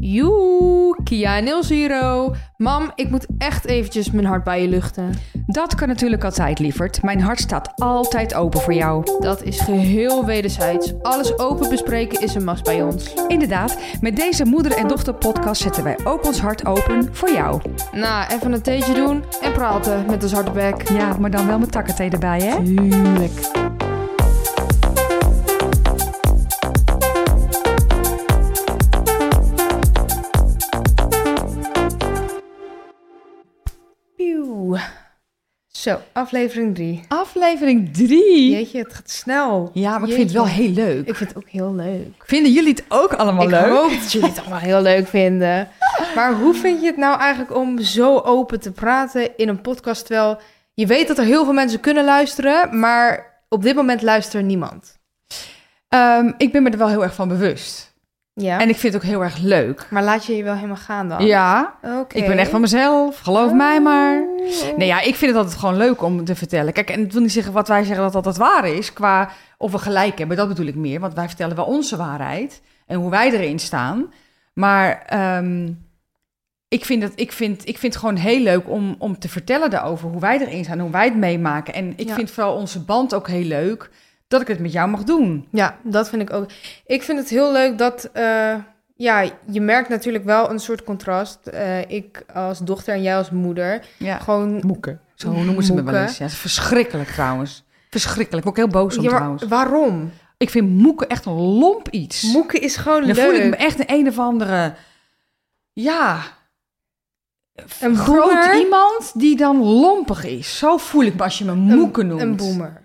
Joe, Kia en Zero. Mam, ik moet echt eventjes mijn hart bij je luchten. Dat kan natuurlijk altijd, lieverd. Mijn hart staat altijd open voor jou. Dat is geheel wederzijds. Alles open bespreken is een must bij ons. Inderdaad, met deze moeder- en dochterpodcast zetten wij ook ons hart open voor jou. Nou, even een theetje doen en praten met ons harde bek. Ja, maar dan wel met takkenthee erbij, hè? Tuurlijk. Pieuw. Zo, aflevering 3. Aflevering 3. Jeetje, het gaat snel. Ja, maar ik vind het wel Jeetje. heel leuk. Ik vind het ook heel leuk. Vinden jullie het ook allemaal ik leuk? hoop dat jullie het allemaal heel leuk vinden. Maar hoe vind je het nou eigenlijk om zo open te praten in een podcast? Terwijl je weet dat er heel veel mensen kunnen luisteren, maar op dit moment luistert niemand. Ehm, ik ben me er wel heel erg van bewust. Ja. En ik vind het ook heel erg leuk. Maar laat je je wel helemaal gaan dan? Ja, Oké. ik ben echt van mezelf. Geloof mij maar. Oh. Nee, ja, ik vind het altijd gewoon leuk om te vertellen. Kijk, en het wil niet zeggen wat wij zeggen dat dat het waar is. Qua of we gelijk hebben, dat bedoel ik meer. Want wij vertellen wel onze waarheid en hoe wij erin staan. Maar ehm, ik, vind dat, ik, vind, ik vind het gewoon heel leuk om, om te vertellen daarover. Hoe wij erin staan, hoe wij het meemaken. En ik Ja. vind vooral onze band ook heel leuk. Dat ik het met jou mag doen. Ja, dat vind ik ook. Ik vind het heel leuk dat... eh, ja, je merkt natuurlijk wel een soort contrast. Eh, ik als dochter en jij als moeder. Ja. Gewoon Moeken. Zo noemen ze me wel Moeken. eens. Ja, dat is verschrikkelijk trouwens. Verschrikkelijk. Word ik heel boos om Ja, maar trouwens. waarom? Ik vind moeken echt een lomp iets. Moeken is gewoon Dan leuk. voel ik me echt een een of andere... Ja, een groot boomer, iemand die dan lompig is. Zo voel ik me als je me een- moeken noemt. Een boomer.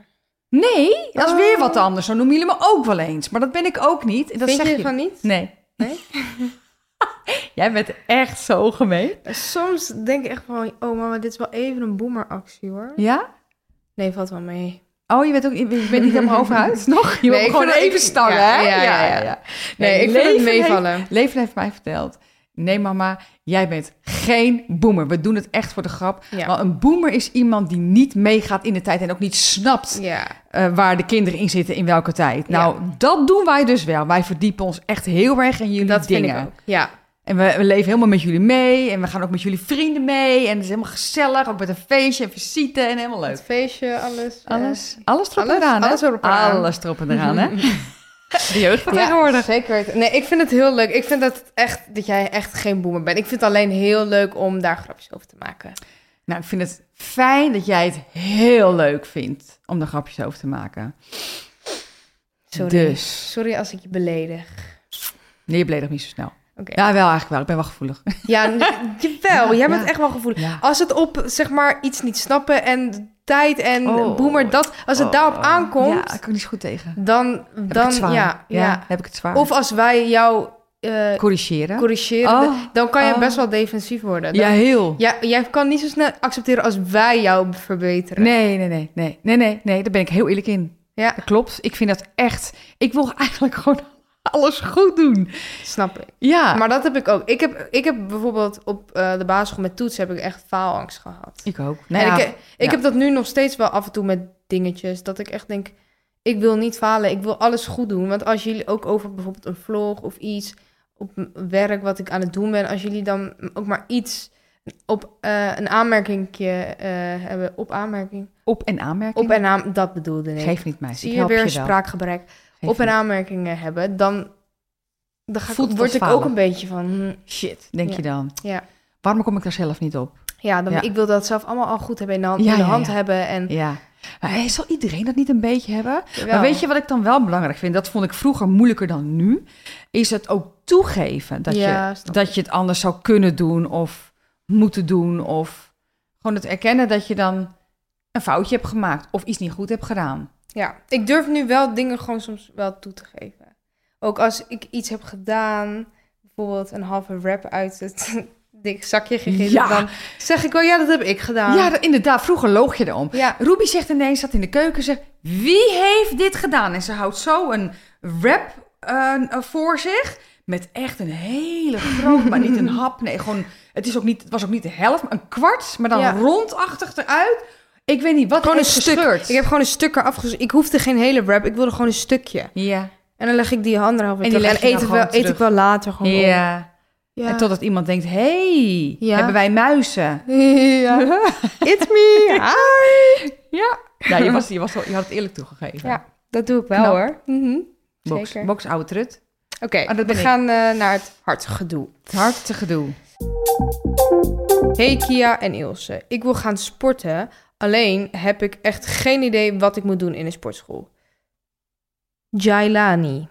Nee, dat is Oh. weer wat anders. Zo noemen jullie me ook wel eens. Maar dat ben ik ook niet. Dat Vind zeg je je... van niet? Nee. Nee? Jij bent echt zo gemeen. Soms denk ik echt van, oh mama, dit is wel even een boomeractie hoor. Ja? Nee, valt wel mee. Oh, je bent, ook, je bent niet helemaal overhuis nog? Je Nee, wil ik gewoon vind dat- even ik- starren, ja, hè? ja, ja, ja. Nee, ik vind het Leven meevallen. heeft- Leven heeft mij verteld. Nee, mama, jij bent geen boemer. We doen het echt voor de grap. Ja. Maar een boemer is iemand die niet meegaat in de tijd en ook niet snapt Ja. eh, waar de kinderen in zitten in welke tijd. Nou, dat doen wij dus wel. Wij verdiepen ons echt heel erg in jullie Dat dingen. vind ik ook. Ja. En we, we leven helemaal met jullie mee. En we gaan ook met jullie vrienden mee. En het is helemaal gezellig. Ook met een feestje en visite. En helemaal leuk. Het feestje, alles. eh, Alles, alles erop alles- en eraan, hè? alles erop en eraan. Alles erop en eraan, hè? De jeugd van ja, tegenwoordig. Zeker. weten. Nee, ik vind het heel leuk. Ik vind dat, het echt, dat jij echt geen boomer bent. Ik vind het alleen heel leuk om daar grapjes over te maken. Nou, ik vind het fijn dat jij het heel leuk vindt om daar grapjes over te maken. Sorry. Dus, Sorry als ik je beledig. nee, je beledigt niet zo snel. Oké. Ja, wel eigenlijk wel. Ik ben wel gevoelig. Ja, n- jawel. jij bent ja. echt wel gevoelig. Ja. Als het op, zeg maar, iets niet snappen en de tijd en Oh. boomer, dat... Als het daarop aankomt, Ja, ik kan niet zo goed tegen. Heb dan... ik dan het zwaar. ja, ja. dan heb ik het zwaar. Of als wij jou eh, corrigeren. corrigeren, Oh. dan kan je Oh. best wel defensief worden. Dan- Ja, heel. Ja, jij kan niet zo snel accepteren als wij jou verbeteren. Nee, nee, nee, nee, nee, nee, nee, daar ben ik heel eerlijk in. Ja, Dat klopt. Ik vind dat echt. Ik wil eigenlijk gewoon alles goed doen. snap ik. Ja, Maar dat heb ik ook. Ik heb, ik heb bijvoorbeeld op eh, de basisschool met toetsen heb ik echt faalangst gehad. ik ook. en Nou, ja, ik, ik heb dat nu nog steeds wel af en toe met dingetjes. Dat ik echt denk, ik wil niet falen. Ik wil alles goed doen. Want als jullie ook over bijvoorbeeld een vlog of iets op m- werk wat ik aan het doen ben. Als jullie dan ook maar iets op eh, een aanmerking hebben. Op aanmerking. op en aanmerking. Op en aan, dat bedoelde ik. Geef niet, meisje. Zie Ik je help weer je wel. spraakgebrek. Geef op en niet. aanmerkingen hebben. Dan, dan ga ik, Voelt het word als ik falen. ook een beetje van... hm, Shit, denk Ja. je dan. Ja. Waarom kom ik daar zelf niet op? Ja, dan, Ja. ik wil dat zelf allemaal al goed hebben in de hand, Ja, in de ja, hand ja. hebben. En, Ja. Maar hey, zal iedereen dat niet een beetje hebben? Jawel. Maar weet je wat ik dan wel belangrijk vind? Dat vond ik vroeger moeilijker dan nu. Is het ook toegeven dat, Ja, je, snap dat je het anders zou kunnen doen of moeten doen. Of gewoon het erkennen dat je dan een foutje hebt gemaakt of iets niet goed hebt gedaan. Ja, ik durf nu wel dingen gewoon soms wel toe te geven. Ook als ik iets heb gedaan, bijvoorbeeld een halve wrap uit het dik zakje gegeten, Ja. dan zeg ik wel, ja, dat heb ik gedaan. Ja, dat- inderdaad. Vroeger loog je erom. ja. Ruby zegt ineens, zat in de keuken, zegt... Wie heeft dit gedaan? En ze houdt zo een wrap eh, voor zich... Met echt een hele grote, maar niet een hap. Nee, gewoon, het, is ook niet, het was ook niet de helft, maar een kwart. Maar dan Ja. rondachtig eruit. Ik weet niet, wat Gewoon een heeft stuk. gescheurd? Ik heb gewoon een stuk eraf gez- Ik hoefde geen hele wrap, ik wilde gewoon een stukje. Ja. En dan leg ik die anderhalf weer En die terug. leg En je eet, dan ik wel, gewoon eet ik wel later gewoon op. ja. Oh, Ja. En totdat iemand denkt, hey, Ja. hebben wij muizen? Ja. It's me. Hi. Ja. Ja, je, was, je, was, wel- je had het eerlijk toegegeven. Ja, dat doe ik wel Knap. hoor. Mhm. Box, zeker. box oude trut. Oké, Ah, dat we ben ik. gaan eh, naar het hartgedoe. Het harte gedoe. Hey Kia en Ilse, ik wil gaan sporten. Alleen heb ik echt geen idee wat ik moet doen in een sportschool. Jailani.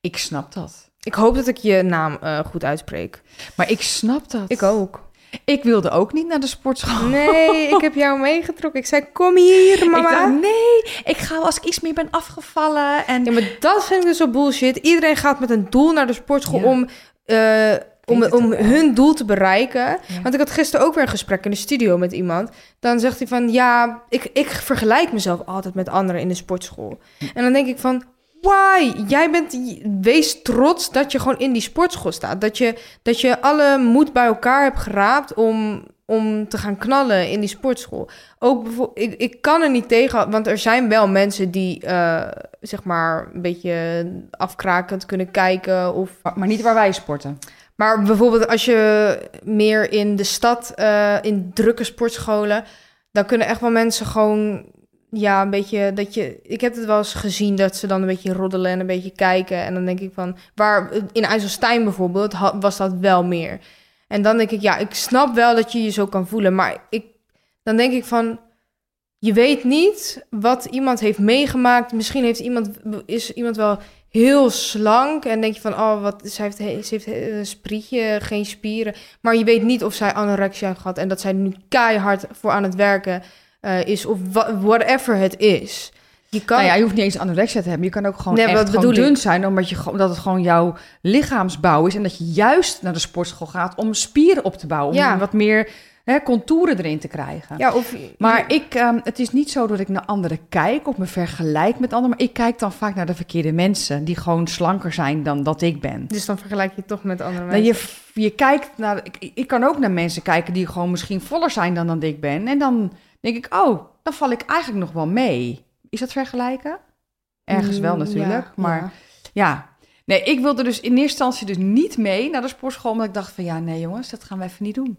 Ik snap dat. Ik hoop dat ik je naam eh, goed uitspreek. Maar ik snap dat. Ik ook. Ik wilde ook niet naar de sportschool. Nee, ik heb jou meegetrokken. Ik zei, kom hier, Ik mama. dacht, nee, ik ga als ik iets meer ben afgevallen. En Ja, maar dat vind ik dus zo bullshit. Iedereen gaat met een doel naar de sportschool Ja. om, eh, om, het om ook wel. hun doel te bereiken. Ja. Want ik had gisteren ook weer een gesprek in de studio met iemand. Dan zegt hij van, ja, ik, ik vergelijk mezelf altijd met anderen in de sportschool. Hm. En dan denk ik van, why? Jij bent, wees trots dat je gewoon in die sportschool staat. Dat je, dat je alle moed bij elkaar hebt geraapt om, om te gaan knallen in die sportschool. Ook bijvoor- ik, ik kan er niet tegen, want er zijn wel mensen die eh, zeg maar een beetje afkrakend kunnen kijken of maar, maar niet waar wij sporten. maar bijvoorbeeld als je meer in de stad, eh, in drukke sportscholen, dan kunnen echt wel mensen gewoon, ja, een beetje dat je. Ik heb het wel eens gezien dat ze dan een beetje roddelen en een beetje kijken. En dan denk ik van, waar in IJsselstein bijvoorbeeld ha- was dat wel meer. En dan denk ik, ja, ik snap wel dat je je zo kan voelen, maar ik, dan denk ik van. Je weet niet wat iemand heeft meegemaakt. Misschien heeft iemand, is iemand wel heel slank. En denk je van, oh, wat, ze, heeft, he- ze heeft he- een sprietje, geen spieren. Maar je weet niet of zij anorexia heeft gehad. En dat zij nu keihard voor aan het werken eh, is. Of wha- whatever het is. Je kan... Nou ja, je hoeft niet eens anorexia te hebben. Je kan ook gewoon Nee, echt wat gewoon bedoel ik? dun zijn. Omdat, je, gewoon- omdat het gewoon jouw lichaamsbouw is. En dat je juist naar de sportschool gaat om spieren op te bouwen. Om Ja. wat meer hè, contouren erin te krijgen. ja, of... Maar ik, ehm, het is niet zo dat ik naar anderen kijk of me vergelijk met anderen. Maar ik kijk dan vaak naar de verkeerde mensen die gewoon slanker zijn dan dat ik ben. Dus dan vergelijk je het toch met andere Nou, mensen. je, je kijkt naar. Ik, ik kan ook naar mensen kijken die gewoon misschien voller zijn dan dat ik ben. En dan denk ik, oh, dan val ik eigenlijk nog wel mee. Is dat vergelijken? Ergens wel Mm, ja, natuurlijk. maar ja. ja. Nee, ik wilde dus in eerste instantie dus niet mee naar de sportschool. Omdat ik dacht van ja, nee jongens, dat gaan we even niet doen.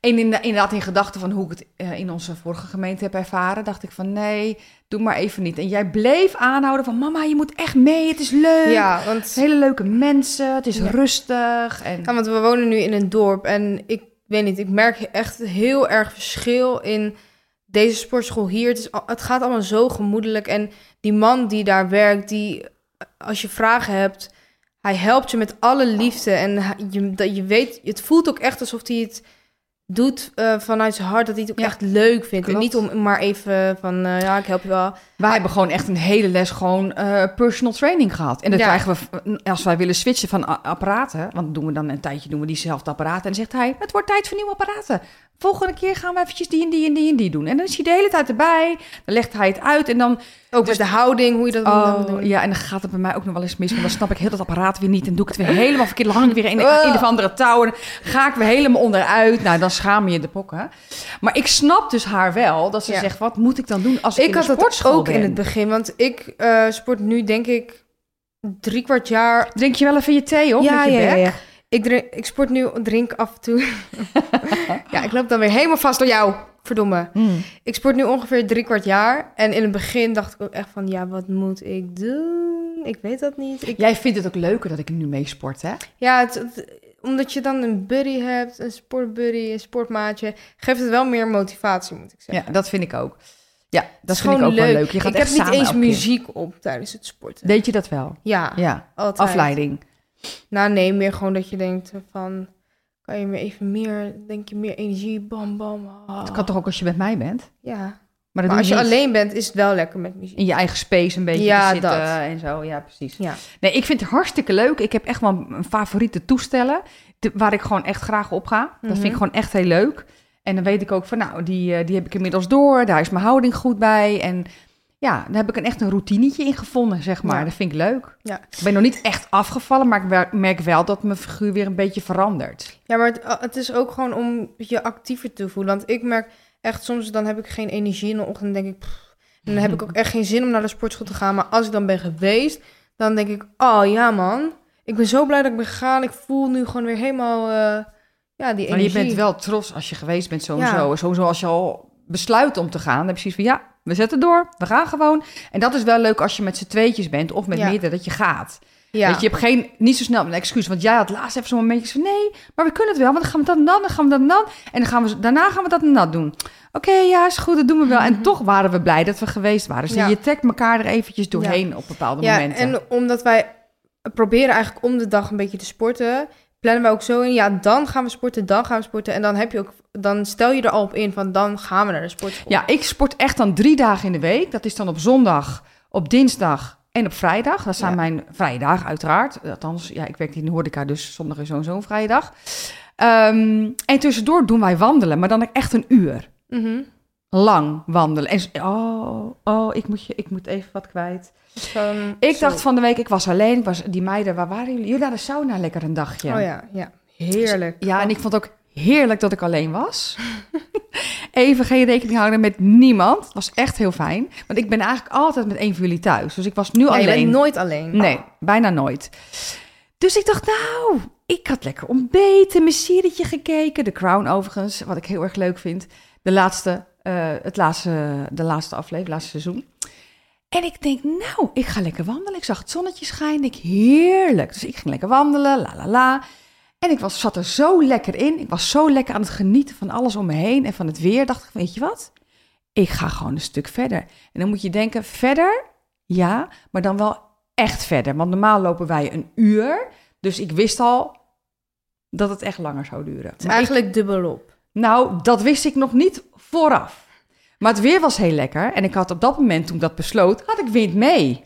En in, inderdaad in gedachten van hoe ik het eh, in onze vorige gemeente heb ervaren, dacht ik van nee, doe maar even niet. En jij bleef aanhouden van mama, je moet echt mee, het is leuk. Ja, Het want, is hele leuke mensen, het is Ja. rustig. En... ja, want we wonen nu in een dorp. En ik weet niet, ik merk echt heel erg verschil in deze sportschool hier. Het, is, al- het gaat allemaal zo gemoedelijk. En die man die daar werkt, die als je vragen hebt, hij helpt je met alle liefde. En hij- je, dat je weet, het voelt ook echt alsof hij het doet eh, vanuit zijn hart. Dat hij het ook Ja, echt leuk vindt. En klopt. niet om maar even van, eh, ja, ik help je wel. Wij hebben gewoon echt een hele les gewoon eh, personal training gehad. En dat Ja. krijgen we, v- als wij willen switchen van a- apparaten, want doen we dan een tijdje doen we diezelfde apparaten. En dan zegt hij, het wordt tijd voor nieuwe apparaten. Volgende keer gaan we eventjes die en die en die en die doen. En dan is hij de hele tijd erbij, dan legt hij het uit en dan... Ook met de houding, hoe je dat moet doen. Dus Oh, ja, en dan gaat het bij mij ook nog wel eens mis, want dan snap ik heel dat apparaat weer niet. En doe ik het weer helemaal verkeerd, dan hang ik weer in Ah. een, een of andere touw en dan ga ik weer helemaal onderuit. Nou, dan schaam je je de pokken. Maar ik snap dus haar wel, dat ze Ja. zegt, wat moet ik dan doen als ik, Ik in had de dat sportschool ook in ben? het begin, want ik eh, sport nu denk ik drie kwart jaar. Drink je wel even je thee op met je bek? Ik, drink, ik sport nu, drink af en toe. ja, ik loop dan weer helemaal vast door jou. Verdomme. Mm. Ik sport nu ongeveer drie kwart jaar. En in het begin dacht ik ook echt van, ja, wat moet ik doen? Ik weet dat niet. Ik, Jij vindt het ook leuker dat ik nu meesport, hè? ja, het, het- omdat je dan een buddy hebt, een sportbuddy, een sportmaatje, geeft het wel meer motivatie, moet ik zeggen. Ja, dat vind ik ook. Ja, dat is vind ik gewoon ook wel leuk. Je gaat ik echt heb niet samen eens elke keer. muziek op tijdens het sporten. Deed je dat wel? Ja, Ja, altijd. afleiding. Nou, nee, meer gewoon dat je denkt van... Kan je me even meer... Denk je meer energie, bam, bam. ah. Dat kan toch ook als je met mij bent? Ja. Oh. Maar, dat Maar als doe je niet. alleen bent, is het wel lekker met muziek. in je eigen space een beetje Ja, te zitten dat. en zo. Ja, precies. Ja. Nee, ik vind het hartstikke leuk. Ik heb echt wel een favoriete toestellen te- waar ik gewoon echt graag op ga. Dat vind ik Mhm. gewoon echt heel leuk. En dan weet ik ook van, nou, die, eh, die heb ik inmiddels door. Daar is mijn houding goed bij. En ja, daar heb ik een, echt een routinetje in gevonden, zeg maar. Ja. Dat vind ik leuk. Ja. Ik ben nog niet echt afgevallen, maar ik wer- merk wel dat mijn figuur weer een beetje verandert. Ja, maar het, eh, het is ook gewoon om je actiever te voelen. Want ik merk echt soms, dan heb ik geen energie in de ochtend. Dan denk ik, pff, en dan heb ik ook echt geen zin om naar de sportschool te gaan. Maar als ik dan ben geweest, dan denk ik, oh ja man. Ik ben zo blij dat ik ben gegaan. Ik voel nu gewoon weer helemaal eh, ja, die energie. Maar je bent wel trots als je geweest bent, sowieso. Ja. Sowieso als je al besluit om te gaan. Dan heb je zoiets van, ja, we zetten door. We gaan gewoon. En dat is wel leuk als je met z'n tweetjes bent of met Ja. meerdere, dat je gaat. Ja. Weet je, je hebt geen, niet zo snel een excuus. Want jij had laatst even zo'n momentje van... nee, maar we kunnen het wel, want dan gaan we dat en dan, dan gaan we dat en dan. En dan gaan we, daarna gaan we dat en dat doen. Oké, ja, is goed, dat doen we wel. En toch waren we blij dat we geweest waren. Dus Mhm. Ja. je trekt elkaar er eventjes doorheen op bepaalde ja, momenten. en omdat wij proberen eigenlijk om de dag een beetje te sporten, plannen wij ook zo in, ja, dan gaan we sporten, dan gaan we sporten. En dan heb je ook, dan stel je er al op in van, dan gaan we naar de sportschool. Ja, ik sport echt dan drie dagen in de week. Dat is dan op zondag, op dinsdag en op vrijdag. Dat zijn Ja. mijn vrije dagen, uiteraard. Althans, ja, ik werk in de horeca, dus zondag is sowieso een vrije dag. Ehm, en tussendoor doen wij wandelen, maar dan echt een uur. Mhm. lang wandelen. En, s- oh, oh ik, moet je, ik moet even wat kwijt. Dus dan- Ik zo. dacht van de week, ik was alleen. Ik was, die meiden, waar waren jullie? Jullie naar de sauna lekker een dagje. Oh ja, ja. Heerlijk. Oh. Ja, en ik vond ook heerlijk dat ik alleen was. Even geen rekening houden met niemand. Het was echt heel fijn. Want ik ben eigenlijk altijd met één van jullie thuis. Dus ik was nu Ja, je alleen. bent nooit alleen. Nee, bijna nooit. Dus ik dacht, nou, ik had lekker ontbeten, mijn serietje gekeken. The Crown overigens, wat ik heel erg leuk vind. De laatste, eh, het laatste, de laatste aflevering, laatste seizoen. En ik denk, nou, ik ga lekker wandelen. Ik zag het zonnetje schijnen, ik heerlijk. Dus ik ging lekker wandelen, la la la. En ik was, zat er zo lekker in. Ik was zo lekker aan het genieten van alles om me heen en van het weer. Dacht ik, weet je wat? Ik ga gewoon een stuk verder. En dan moet je denken, verder, ja, maar dan wel echt verder. Want normaal lopen wij een uur. Dus ik wist al dat het echt langer zou duren. Het is Oh, eigenlijk dubbelop. Nou, dat wist ik nog niet vooraf. Maar het weer was heel lekker. En ik had op dat moment, toen ik dat besloot, had ik wind mee.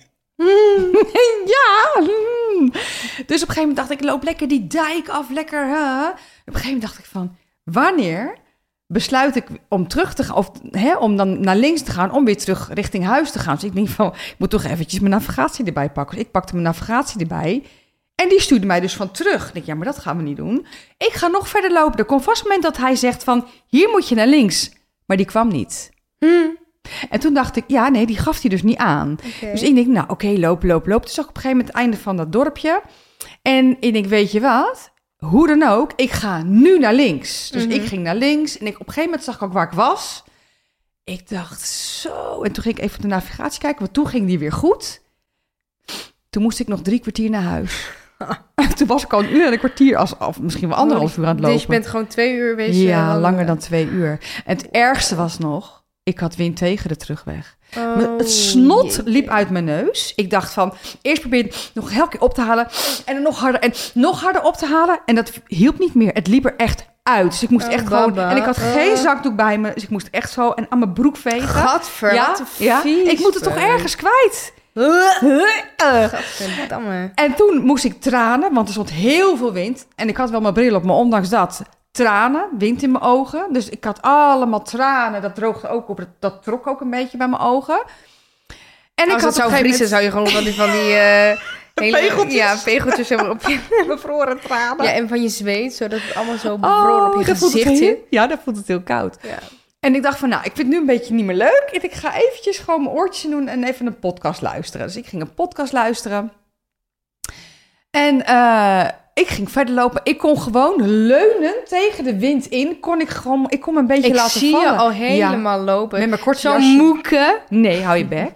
ja! mm. Dus op een gegeven moment dacht ik, ik loop lekker die dijk af, lekker. hè. Op een gegeven moment dacht ik van, wanneer besluit ik om terug te gaan, of hè, om dan naar links te gaan, om weer terug richting huis te gaan. Dus ik denk van, ik moet toch eventjes mijn navigatie erbij pakken. Dus ik pakte mijn navigatie erbij. En die stuurde mij dus van terug. Ik denk, ja, maar dat gaan we niet doen. Ik ga nog verder lopen. Er komt vast een moment dat hij zegt van, hier moet je naar links. Maar die kwam niet. En toen dacht ik, ja, nee, die gaf hij dus niet aan. Oké. Dus ik denk, nou oké, loop, loop, loop. Dus ook op een gegeven moment het einde van dat dorpje. En ik denk, weet je wat? Hoe dan ook, ik ga nu naar links. Dus Mhm. ik ging naar links en ik, op een gegeven moment zag ik ook waar ik was. Ik dacht, zo. En toen ging ik even op de navigatie kijken, want toen ging die weer goed. Toen moest ik nog drie kwartier naar huis. toen was ik al een uur en een kwartier, als, of misschien wel anderhalf uur aan het lopen. Dus je bent eh, gewoon twee uur bezig. ja, langer dan twee uur. En het ergste was nog, ik had wind tegen de terugweg. Oh, Maar het snot liep uit mijn neus. Ik dacht van, eerst probeer het nog elke keer op te halen. En dan nog harder en nog harder op te halen. En dat hielp niet meer. Het liep er echt uit. Dus ik moest Oh, echt gewoon... baba. En ik had geen Oh. zakdoek bij me. Dus ik moest echt zo en aan mijn broek vegen. Gadver, ja, wat een ja. vies, Ik moet het toch hè. ergens kwijt. Gadverdamme. En toen moest ik tranen, want er stond heel veel wind. En ik had wel mijn bril op, maar ondanks dat tranen, wind in mijn ogen. Dus ik had allemaal tranen. Dat droogde ook op. Dat, dat trok ook een beetje bij mijn ogen. En Als het op een zou gegeven vriezen, zou je gewoon van die... Van die eh hele, Pegeltjes. Ja, pegeltjes helemaal op je... bevroren tranen. Ja, en van je zweet, zodat het allemaal zo bevroren oh, op je dat voelt het gezicht zit. heel- Ja, dat voelt het heel koud. Ja. En ik dacht van, nou, ik vind het nu een beetje niet meer leuk. Ik ga eventjes gewoon mijn oortjes in doen en even een podcast luisteren. Dus ik ging een podcast luisteren. En eh, ik ging verder lopen. Ik kon gewoon leunen tegen de wind in. Kon ik gewoon, ik kon me een beetje Ik laten zie vallen. je al Ja, helemaal lopen. met mijn korte Zo'n jasje. moeke. Nee, hou je bek.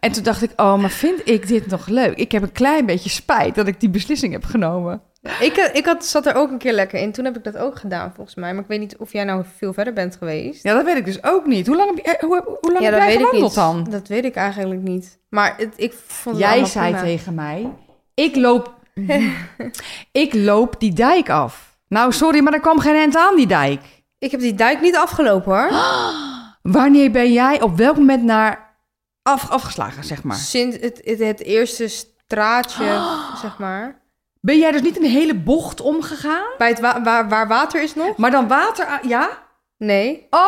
en toen dacht ik, oh, maar vind ik dit nog leuk? Ik heb een klein beetje spijt dat ik die beslissing heb genomen. Ik, eh, ik had, zat er ook een keer lekker in. Toen heb ik dat ook gedaan, volgens mij. Maar ik weet niet of jij nou veel verder bent geweest. Ja, dat weet ik dus ook niet. Hoe lang heb, je, eh, hoe, hoe lang Ja, heb dat jij weet ik gewandeld niet. dan? Dat weet ik eigenlijk niet. Maar het, ik vond het Jij allemaal zei prima. tegen mij, ik loop, ik loop die dijk af. Nou, sorry, maar er kwam geen end aan die dijk. Ik heb die dijk niet afgelopen hoor. Wanneer ben jij op welk moment naar af, afgeslagen, zeg maar? Sinds het, het, het eerste straatje, zeg maar. Ben jij dus niet een hele bocht omgegaan? Bij het wa- waar, waar water is nog? Maar dan water aan- Ja? Nee. Oh,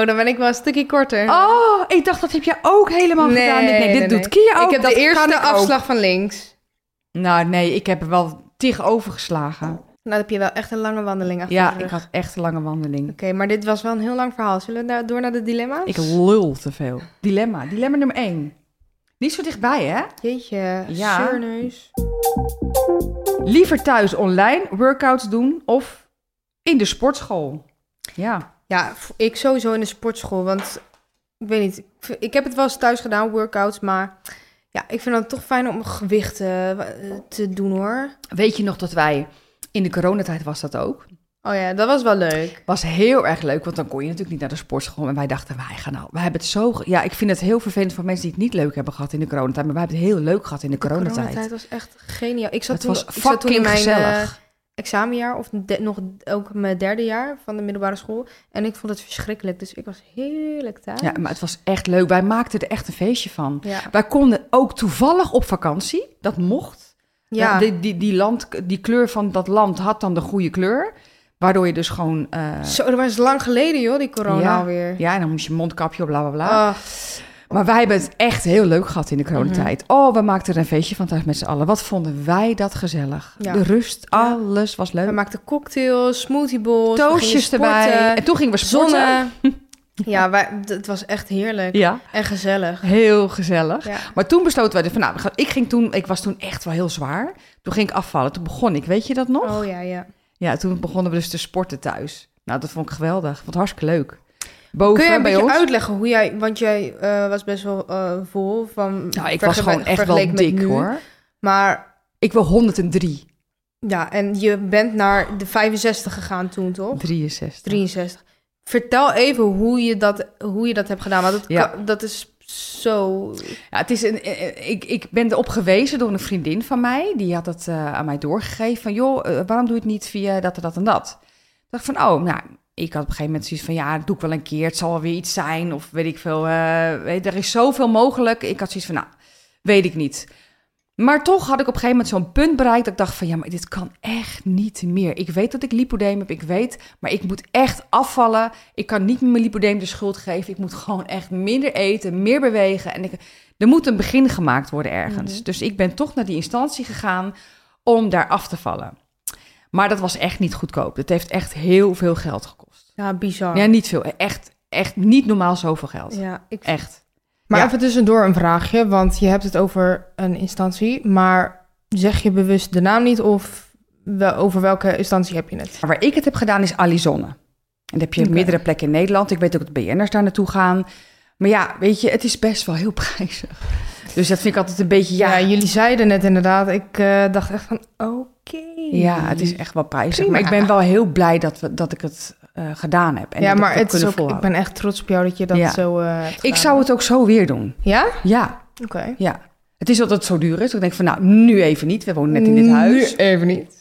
Oh, dan ben ik wel een stukje korter. oh, ik dacht dat heb jij ook helemaal Nee, gedaan. Ik denk, nee, dit nee. doet Kia ook. ik heb dat de kan ik eerste ook. afslag van links. Nou nee, ik heb er wel tig overgeslagen. Nou, dan heb je wel echt een lange wandeling achter de Ja, rug. ik had echt een lange wandeling. Oké, maar dit was wel een heel lang verhaal. Zullen we daar door naar de dilemma's? Ik lul te veel. Dilemma, dilemma nummer één. Niet zo dichtbij, hè? Jeetje, Ja. zeurneus. Liever thuis online workouts doen of in de sportschool. Ja. Ja, v- ik sowieso in de sportschool, want ik weet niet. ik v- Ik heb het wel eens thuis gedaan, workouts, maar ja, ik vind het toch fijn om gewichten eh, te doen hoor. Weet je nog dat wij, in de coronatijd was dat ook, Oh ja, dat was wel leuk. was heel erg leuk, want dan kon je natuurlijk niet naar de sportschool. En wij dachten, wij gaan nou, wij hebben het zo... ge- Ja, ik vind het heel vervelend voor mensen die het niet leuk hebben gehad in de coronatijd. Maar wij hebben het heel leuk gehad in de coronatijd. Coronatijd was echt geniaal. Ik zat, het toen, was ik zat toen in fucking mijn eh, gezellig. examenjaar, of de- nog ook mijn derde jaar van de middelbare school. En ik vond het verschrikkelijk, dus ik was heerlijk thuis. Ja, maar het was echt leuk. Wij maakten er echt een feestje van. ja. Wij konden ook toevallig op vakantie, dat mocht. ja. Die, die, die, land, die kleur van dat land had dan de goede kleur. Waardoor je dus gewoon... eh, Zo, dat was lang geleden joh, die corona Ja. alweer. ja, en dan moest je mondkapje op, bla bla bla. Ah, Maar wij hebben het echt heel leuk gehad in Mhm. de coronatijd. Oh, we maakten er een feestje van thuis met z'n allen. Wat vonden wij dat gezellig. Ja. De rust, Ja. alles was we leuk. maakten cocktails, smoothie bowls, we gingen Toastjes sporten, erbij. En toen gingen we sporten. Zonne. ja, wij, d- het was echt heerlijk Ja, en gezellig. heel gezellig. Ja. Maar toen besloten wij, dus van, nou, we gaan- ik, ging toen, ik was toen echt wel heel zwaar. Toen ging ik afvallen. Toen begon ik, weet je dat nog? Oh ja, ja. Ja, toen begonnen we dus te sporten thuis. Nou, dat vond ik geweldig. Vond het hartstikke leuk. Boven Kun je een bij beetje ons. uitleggen hoe jij, want jij eh, was best wel eh, vol van. Nou, ik was vergelijk- gewoon echt wel vergeleken met dik nu. hoor. Maar Ik wil 103. ja, en je bent naar de 65 gegaan toen, toch? 63. 63. Vertel even hoe je dat, hoe je dat hebt gedaan. Want dat, Ja. kan- dat is zo. Ja, het is een, eh, eh, ik, ik ben erop gewezen door een vriendin van mij. Die had het eh, aan mij doorgegeven. Van joh, eh, waarom doe je het niet via dat en dat en dat? Ik dacht van, oh, nou, ik had op een gegeven moment zoiets van... Ja, dat doe ik wel een keer. Het zal wel weer iets zijn. Of weet ik veel. eh, weet, er is zoveel mogelijk. Ik had zoiets van, nou, weet ik niet. Maar toch had ik op een gegeven moment zo'n punt bereikt... dat ik dacht van, ja, maar dit kan echt niet meer. Ik weet dat ik lipodeem heb, ik weet... maar ik moet echt afvallen. Ik kan niet meer mijn lipodeem de schuld geven. Ik moet gewoon echt minder eten, meer bewegen. En ik, er moet een begin gemaakt worden ergens. Mhm. Dus ik ben toch naar die instantie gegaan om daar af te vallen. Maar dat was echt niet goedkoop. Het heeft echt heel veel geld gekost. Ja, bizar. Ja, niet veel. Echt, echt niet normaal zoveel geld. Ja, ik Echt. Maar Ja. even tussendoor een vraagje, want je hebt het over een instantie, maar zeg je bewust de naam niet of wel, over welke instantie heb je het? Maar waar ik het heb gedaan is Alizonne. En dat heb je op Oké. meerdere plekken in Nederland. Ik weet ook dat BN'ers daar naartoe gaan. Maar ja, weet je, het is best wel heel prijzig. Dus dat vind ik altijd een beetje, ja, Ja, ja, jullie zeiden net inderdaad, ik eh, dacht echt van oké. het is echt wel prijzig. Prima. Maar ik ben wel heel blij dat, we, dat ik het eh, gedaan heb. En ja, dat ik maar dat het is kunnen ook, ik volhouden. ben echt trots op jou dat je dat Ja. zo. eh, hebt Ik gedaan. zou het ook zo weer doen. Ja? Ja, Oké. ja. Het is dat het zo duur is. Ik denk van, nou, nu even niet. We wonen net in dit Nu huis. even niet.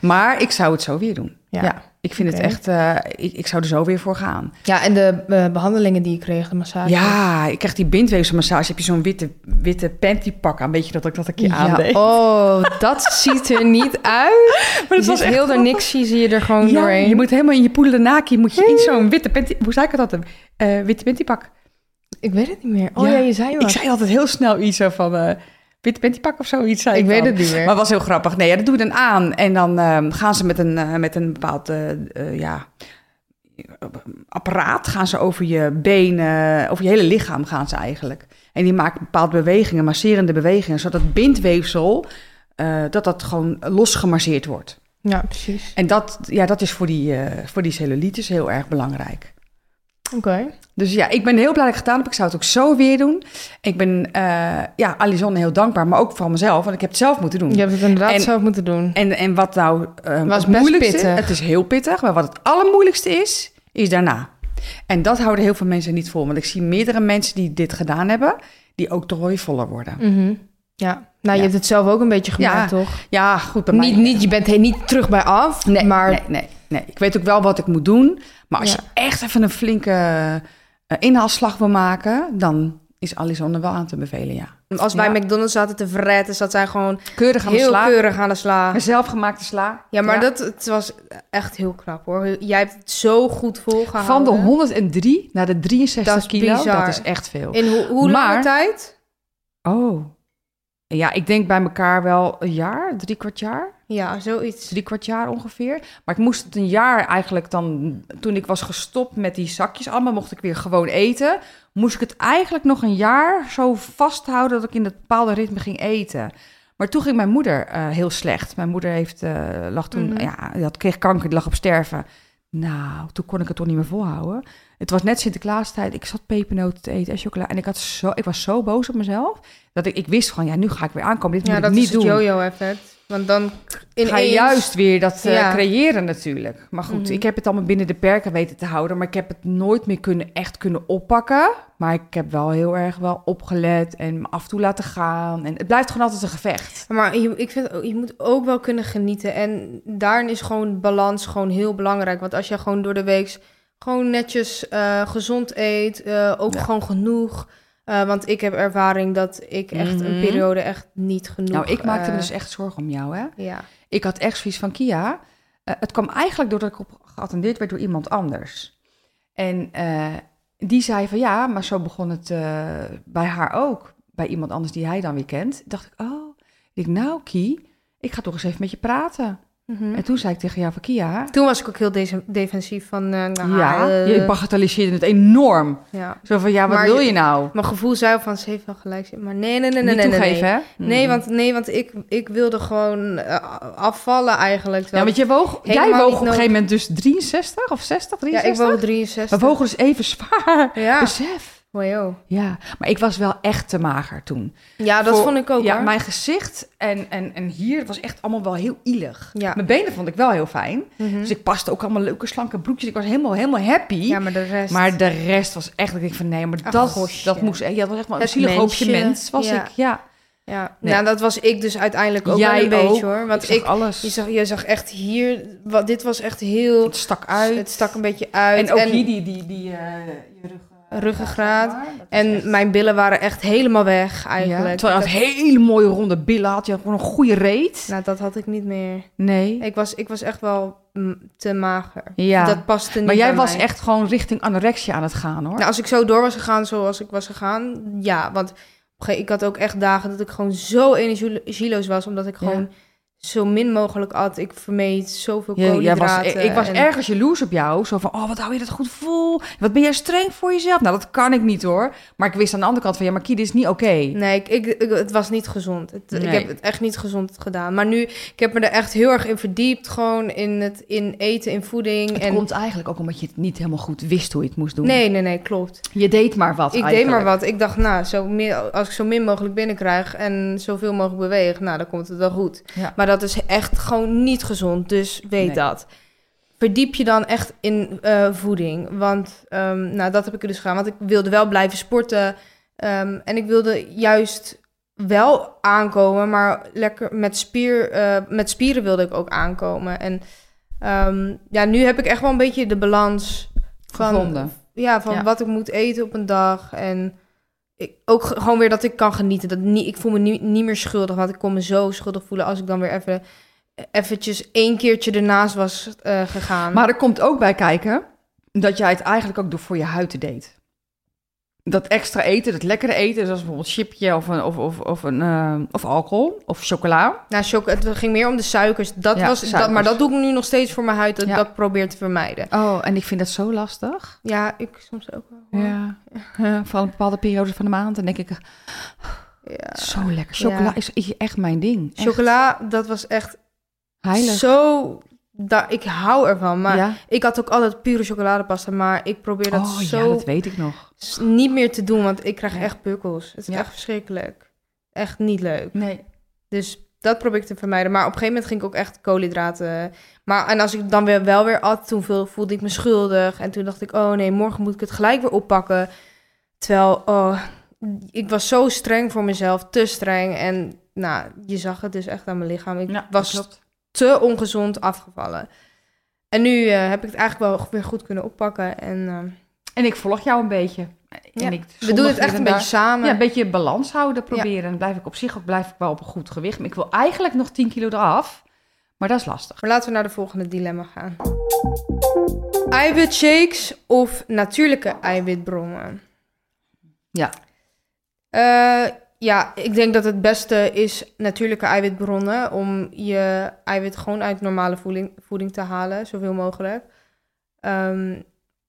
Maar ik zou het zo weer doen. Ja. Ja. Ik vind Oké. het echt, eh, ik, ik zou er zo weer voor gaan. Ja, en de eh, behandelingen die je kreeg, de massage. Ja, ik krijg die bindweefselmassage. Heb je zo'n witte, witte panty pak aan? Weet je dat ik dat een keer Ja, aandeed? oh, dat ziet er niet uit. maar Je ziet heel er niks, zie zie je er gewoon Ja, doorheen. je moet helemaal in je poelenaki, moet je in zo'n witte panty... Hoe zei ik dat? dan? Eh witte pantypak. Ik weet het niet meer. Oh ja, Ja. je zei wel. Ik zei altijd heel snel iets zo van... eh, witte pantypak of zoiets. Zei Ik ik weet dan. het niet meer. Maar het was heel grappig. Nee, ja, dat doe je dan aan. En dan ehm, gaan ze met een, eh, met een bepaald eh, eh, ja, apparaat gaan ze over je benen, over je hele lichaam gaan ze eigenlijk. En die maakt bepaalde bewegingen, masserende bewegingen, zodat het bindweefsel, eh, dat dat gewoon losgemasseerd wordt. Ja, precies. En dat, ja, dat is voor die, eh, voor die cellulitis heel erg belangrijk. Oké. Dus ja, ik ben heel blij dat ik het gedaan heb. Ik zou het ook zo weer doen. Ik ben eh ja, Alison heel dankbaar, maar ook van mezelf, want ik heb het zelf moeten doen. Je hebt het inderdaad En- zelf moeten doen. En, en wat nou eh, Was best het moeilijkste, pittig. het is heel pittig, maar wat het allermoeilijkste is, is daarna. En dat houden heel veel mensen niet vol, want ik zie meerdere mensen die dit gedaan hebben, die ook toch wel weer voller worden. Mhm. Ja. Nou, je Ja. hebt het zelf ook een beetje gemaakt, toch? Ja, goed bij Niet, mij. niet, je bent he- niet terug bij af, nee, maar nee, nee, nee. Ik weet ook wel wat ik moet doen, maar als Ja. je echt even een flinke eh, inhaalslag wil maken, dan is Alexander wel aan te bevelen, ja. Want Als wij Ja. McDonald's zaten te vreten, zat zij gewoon Keurig aan de heel sla. keurig aan de sla. Een zelfgemaakte sla. Ja, maar Dat, het was echt heel knap hoor. Jij hebt het zo goed volgehouden. Van de 103 naar de 63 Dat is kilo, bizar. dat is echt veel. In ho- hoe lange Maar- tijd? Oh. Ja, ik denk bij elkaar wel een jaar, drie kwart jaar. Ja, zoiets. drie kwart jaar ongeveer. Maar ik moest het een jaar eigenlijk dan, toen ik was gestopt met die zakjes allemaal, mocht ik weer gewoon eten. Moest ik het eigenlijk nog een jaar zo vasthouden dat ik in dat bepaalde ritme ging eten. Maar toen ging mijn moeder eh, heel slecht. Mijn moeder heeft, eh, lag toen, Mhm. ja, die had, kreeg kanker, die lag op sterven. Nou, toen kon ik het toch niet meer volhouden. Het was net Sinterklaastijd. Ik zat pepernoten te eten en chocola. En ik, had zo, ik was zo boos op mezelf. Dat ik, ik wist gewoon, ja, nu ga ik weer aankomen. Dit Ja, moet dat ik niet is het doen jojo-effect. Want dan in ga je juist weer dat eh, Ja. creëren natuurlijk. Maar goed, Mhm. ik heb het allemaal binnen de perken weten te houden. Maar ik heb het nooit meer kunnen, echt kunnen oppakken. Maar ik heb wel heel erg wel opgelet en me af en toe laten gaan. En het blijft gewoon altijd een gevecht. Maar je, ik vind, ook- je moet ook wel kunnen genieten. En daarin is gewoon balans gewoon heel belangrijk. Want als je gewoon door de week gewoon netjes eh, gezond eet, eh, ook Ja. gewoon genoeg. Eh, want ik heb ervaring dat ik echt een Mhm. periode echt niet genoeg... nou, ik maakte me eh, dus echt zorgen om jou, hè. Ja. Ik had echt zoiets van Kia. eh, het kwam eigenlijk doordat ik op geattendeerd werd door iemand anders. En eh, die zei van ja, maar zo begon het eh, bij haar ook. Bij iemand anders die hij dan weer kent. Dacht ik, oh, ik, denk, nou Kie, ik ga toch eens even met je praten. Mhm. En toen zei ik tegen jou van Kia. Toen was ik ook heel deze- defensief van... eh, nou, ja, eh, je bagatelliseerde het enorm. ja. Zo van ja, wat Maar wil je- je nou? Mijn gevoel zei al van, ze heeft wel gelijk. Maar nee, nee, nee, nee, Niet nee, nee, nee. toegeven, hè? Nee, Mm. want, nee, want ik, ik wilde gewoon eh, afvallen eigenlijk. Ja, terwijl- want je woog, jij helemaal woog niet op een gegeven nodig. moment dus 63 of 60, ja, ik 63? woog 63. We wogen dus even zwaar. Ja, Besef. wow. Ja, maar ik was wel echt te mager toen. ja dat Voor- vond ik ook Ja, hoor. mijn gezicht en, en, en hier was echt allemaal wel heel ielig. Ja. Mijn benen vond ik wel heel fijn. Mhm. Dus ik paste ook allemaal leuke slanke broekjes. Ik was helemaal, helemaal happy. ja, maar de rest. maar de rest was echt, ik denk van nee, maar Ach, dat, gosje. dat moest echt. Ja, dat was echt wel een Het zielig hoopje mensje. mens was Ja. ik. Ja, ja. Nee. Nou, dat was ik dus uiteindelijk ook wel Jij een beetje ook. hoor. Want zag ik, alles. je, zag, je zag echt hier, wat, dit was echt heel, het stak uit. het stak een beetje uit. en ook hier die, die, die eh, je rug, eh, Ruggengraat. zeg maar. Dat is en echt- mijn billen waren echt helemaal weg Ja, eigenlijk. terwijl je had dat, hele mooie ronde billen had. Je had gewoon een goede reet. nou, dat had ik niet meer. Nee. Ik was, ik was echt wel mm, te mager. Ja. Dat paste niet Maar jij bij was mij. echt gewoon richting anorexia aan het gaan, hoor. Nou, als ik zo door was gegaan zoals ik was gegaan, ja. Want op een gege- ik had ook echt dagen dat ik gewoon zo energieloos was, omdat ik Ja. gewoon zo min mogelijk at. Ik vermeed zoveel Ja, jij was, e- koolhydraten. ik, ik was en- ergens jaloers op jou. Zo van, oh, wat hou je dat goed vol? Wat ben jij streng voor jezelf? Nou, dat kan ik niet, hoor. Maar ik wist aan de andere kant van, ja, maar Kie, dit is niet oké. Nee, ik, ik, ik- het was niet gezond. Het- Ik Nee. heb het echt niet gezond gedaan. Maar nu, ik heb me er echt heel erg in verdiept. Gewoon in, het, in eten, in voeding. Het en... komt eigenlijk ook omdat je het niet helemaal goed wist hoe je het moest doen. Nee, nee, nee, klopt. Je deed maar wat Ik deed eigenlijk. maar wat. Ik dacht, nou, zo meer, als ik zo min mogelijk binnenkrijg en zoveel mogelijk beweeg, nou, dan komt het wel goed. Ja. Maar dat is echt gewoon niet gezond, dus weet Nee. dat. Verdiep je dan echt in eh, voeding. Want ehm, nou, dat heb ik er dus gedaan. Want ik wilde wel blijven sporten. ehm, en ik wilde juist wel aankomen, maar lekker met, spier, eh, met spieren wilde ik ook aankomen. En ehm, ja, nu heb ik echt wel een beetje de balans van, Gevonden. ja, van Ja. wat ik moet eten op een dag. En ik, ook ge- gewoon weer dat ik kan genieten. Dat niet, ik voel me nie- niet meer schuldig, want ik kon me zo schuldig voelen als ik dan weer even eventjes één keertje ernaast was eh, gegaan. Maar er komt ook bij kijken dat jij het eigenlijk ook door voor je huid deed. Dat extra eten, dat lekkere eten, zoals bijvoorbeeld chipje of, een, of, of, of, een, eh, of alcohol of chocola. nou, choco, het ging meer om de suikers. Dat Ja, was, Dat, suikers. maar dat doe ik nu nog steeds voor mijn huid. Dat, Ja. dat ik probeer te vermijden. Oh, en ik vind dat zo lastig. Ja, ik soms ook wel. hoor. Ja. ja, vooral een bepaalde periode van de maand. Dan denk ik, Ja. zo lekker. Chocola Ja. is is echt mijn ding. Echt Chocola, dat was echt heilig. zo... Da, ik hou ervan, maar ja. ik had ook altijd pure chocoladepasta. Maar ik probeer dat oh zo ja, dat weet ik nog. s- niet meer te doen, want ik krijg Nee. echt pukkels. Het is Ja. echt verschrikkelijk. Echt niet leuk. Nee. Dus dat probeer ik te vermijden. Maar op een gegeven moment ging ik ook echt koolhydraten. Maar en als ik dan weer wel weer at, toen voel- voelde ik me schuldig. En toen dacht ik, oh nee, morgen moet ik het gelijk weer oppakken. Terwijl, oh, ik was zo streng voor mezelf, te streng. En nou, je zag het dus echt aan mijn lichaam. Ik was te ongezond afgevallen. En nu eh, heb ik het eigenlijk wel weer goed kunnen oppakken. En eh, En ik volg jou een beetje. En Ja, ik We doen het echt een beetje Ja, samen. een beetje balans houden proberen. En dan blijf ik op zich ook blijf ik wel op een goed gewicht. Maar ik wil eigenlijk nog 10 kilo eraf. Maar dat is lastig. Maar laten we naar de volgende dilemma gaan. Eiwitshakes of natuurlijke eiwitbronnen? Ja. Eh, ja, ik denk dat het beste is natuurlijke eiwitbronnen. Om je eiwit gewoon uit normale voeding, voeding te halen, zoveel mogelijk. Ehm,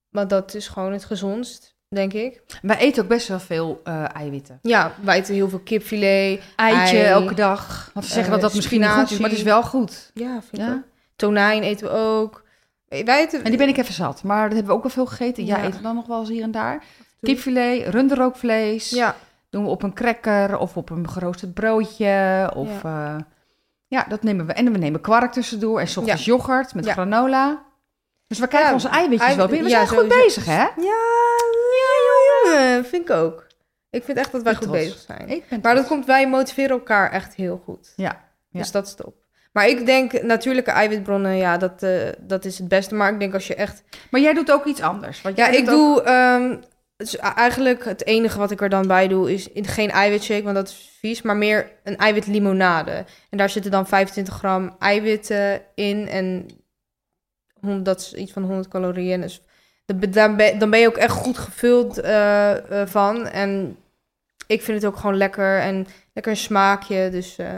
maar dat is gewoon het gezondst, denk ik. Wij eten ook best wel veel eh, eiwitten. Ja, wij eten heel veel kipfilet. Eitje Ei. elke dag. Want ze zeggen dat dat Eh, misschien niet goed is, spinazie. maar het is wel goed. Ja, vind ik Ja. ook. Tonijn eten we ook. Wij eten... En die ben ik even zat. Maar dat hebben we ook wel veel gegeten. Jij Ja. eet dan nog wel eens hier en daar. Kipfilet, runderrookvlees. Ja, Doen we op een cracker of op een geroosterd broodje. Of ja, ja dat nemen we. En we nemen kwark tussendoor. En 's ochtends yoghurt met Ja. granola. Dus we krijgen Ja, onze eiwitjes ei- wel binnen. We ja, zijn goed sowieso. bezig, hè? Ja, ja, jongen. Vind ik ook. Ik vind echt dat wij Ik goed trots. bezig zijn. Ik ben Maar dat komt, wij motiveren elkaar echt heel goed. Ja, ja. Dus dat is top. Maar ik denk natuurlijke eiwitbronnen, ja, dat, eh, dat is het beste. Maar ik denk als je echt... Maar jij doet ook iets anders. Want Ja, jij ik doet ook- doe... ehm, dus a- eigenlijk het enige wat ik er dan bij doe is in- geen eiwitshake, want dat is vies. Maar meer een eiwitlimonade. En daar zitten dan 25 gram eiwitten in. En hon- dat is iets van 100 calorieën. Dus dat be- daar ben- dan ben je ook echt goed gevuld eh, eh, van. En ik vind het ook gewoon lekker. En lekker een smaakje. Dus eh,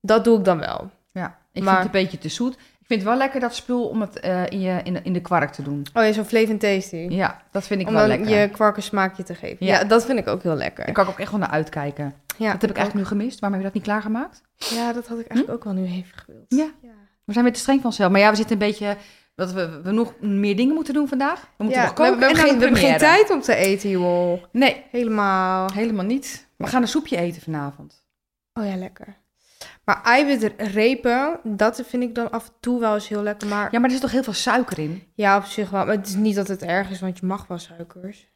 dat doe ik dan wel. Ja, ik maar- vind het een beetje te zoet. Ik vind het wel lekker dat spul om het eh, in, je, in, de- in de kwark te doen. Oh ja, zo'n Flavin Tasty. Ja, dat vind ik Om wel dan lekker. je kwark een smaakje te geven. Ja. Ja. dat vind ik ook heel lekker. Daar kan ik ook echt wel naar uitkijken. ja, dat heb ik ook. eigenlijk nu gemist. Waarom heb je dat niet klaargemaakt? Ja, dat had ik eigenlijk ook wel nu even gewild. Hm? Ja. We zijn weer te streng van onszelf. Maar ja, we zitten een beetje... Dat we, we nog meer dingen moeten doen vandaag. We moeten Ja, nog koken we, hebben en geen, we naar de hebben geen première. tijd om te eten, joh. Nee, Helemaal. helemaal niet. We gaan een soepje eten vanavond. Oh ja, lekker. Maar eiwitrepen, dat vind ik dan af en toe wel eens heel lekker. Maar ja, Ja, maar er zit toch heel veel suiker in? op zich wel. Maar het is niet dat het erg is, want je mag wel suikers.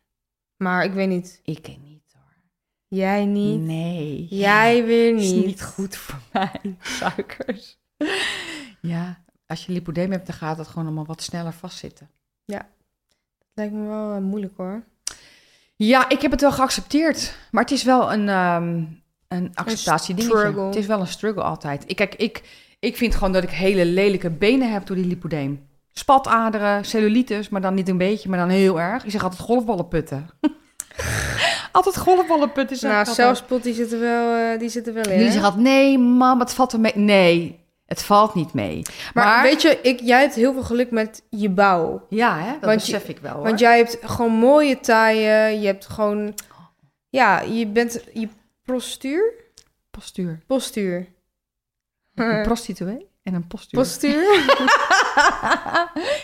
Maar ik weet niet. Ik eet niet hoor. Jij niet. Nee. Jij weer is niet. niet goed voor mij, suikers. ja, als je lipodem hebt, dan gaat dat gewoon allemaal wat sneller vastzitten. Lijkt me wel eh, moeilijk hoor. Ja, ik heb het wel geaccepteerd. Maar het is wel een, ehm een acceptatiedingetje. struggle. Het is wel een struggle altijd. Ik, kijk, ik, ik vind gewoon dat ik hele lelijke benen heb door die lipodeem. Spataderen, cellulitis, maar dan niet een beetje, maar dan heel erg. Ik zeg altijd golfballen putten. altijd golfballen putten. zeg ik nou, altijd. zelfspot, die zitten wel, eh, die zitten wel in. Jullie hè? zeggen altijd, nee mam, het valt er mee. Nee, het valt niet mee. maar, weet je, ik, jij hebt heel veel geluk met je bouw. Ja, hè? dat Want je- besef ik wel. Hoor. Want jij hebt gewoon mooie taaien. Je hebt gewoon. Ja, je bent. Je postuur? postuur. Postuur. Eh. Een prostituee en een postuur. Postuur?